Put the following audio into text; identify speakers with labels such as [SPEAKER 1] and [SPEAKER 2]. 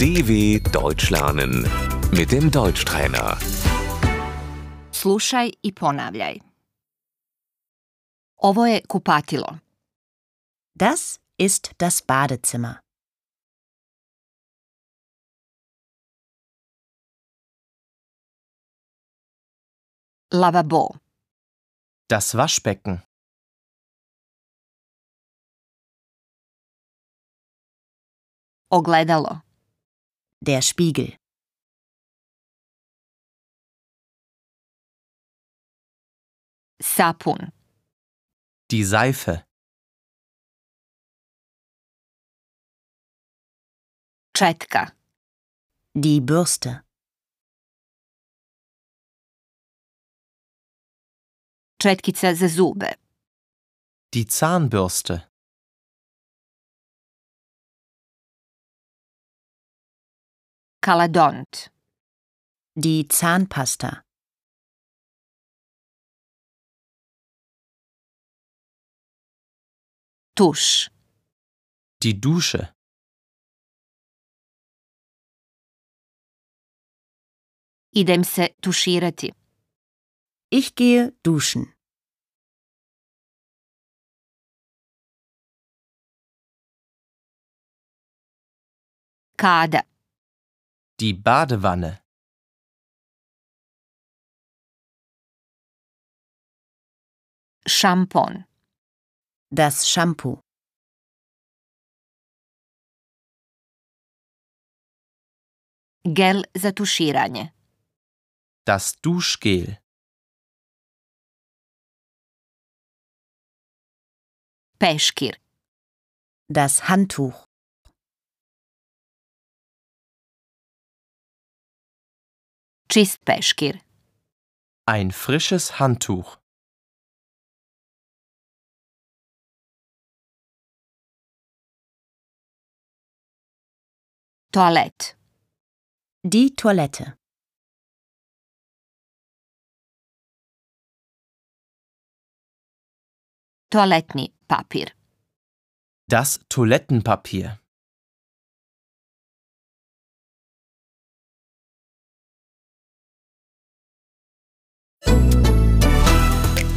[SPEAKER 1] DW Deutsch lernen mit dem Deutschtrainer.
[SPEAKER 2] Slušaj i ponavljaj. Ovo je kupatilo.
[SPEAKER 3] Das ist das Badezimmer.
[SPEAKER 2] Lavabo.
[SPEAKER 4] Das Waschbecken.
[SPEAKER 2] Ogledalo.
[SPEAKER 3] Der Spiegel.
[SPEAKER 2] Sapun.
[SPEAKER 4] Die Seife.
[SPEAKER 2] Četka.
[SPEAKER 3] Die Bürste.
[SPEAKER 2] Četkica za zube.
[SPEAKER 4] Die Zahnbürste.
[SPEAKER 2] Kaladont.
[SPEAKER 3] Die Zahnpasta.
[SPEAKER 2] Tuš.
[SPEAKER 4] Die Dusche.
[SPEAKER 2] Idem se tuširati.
[SPEAKER 3] Ich gehe duschen.
[SPEAKER 2] Kada.
[SPEAKER 4] Die Badewanne.
[SPEAKER 2] Šampon.
[SPEAKER 3] Das Shampoo.
[SPEAKER 2] Gel za tuširanje.
[SPEAKER 4] Das Duschgel.
[SPEAKER 2] Peškir.
[SPEAKER 3] Das Handtuch.
[SPEAKER 2] Čist peškir.
[SPEAKER 4] Ein frisches Handtuch.
[SPEAKER 2] Toalet.
[SPEAKER 3] Die Toilette.
[SPEAKER 2] Toaletni papir.
[SPEAKER 4] Das Toilettenpapier.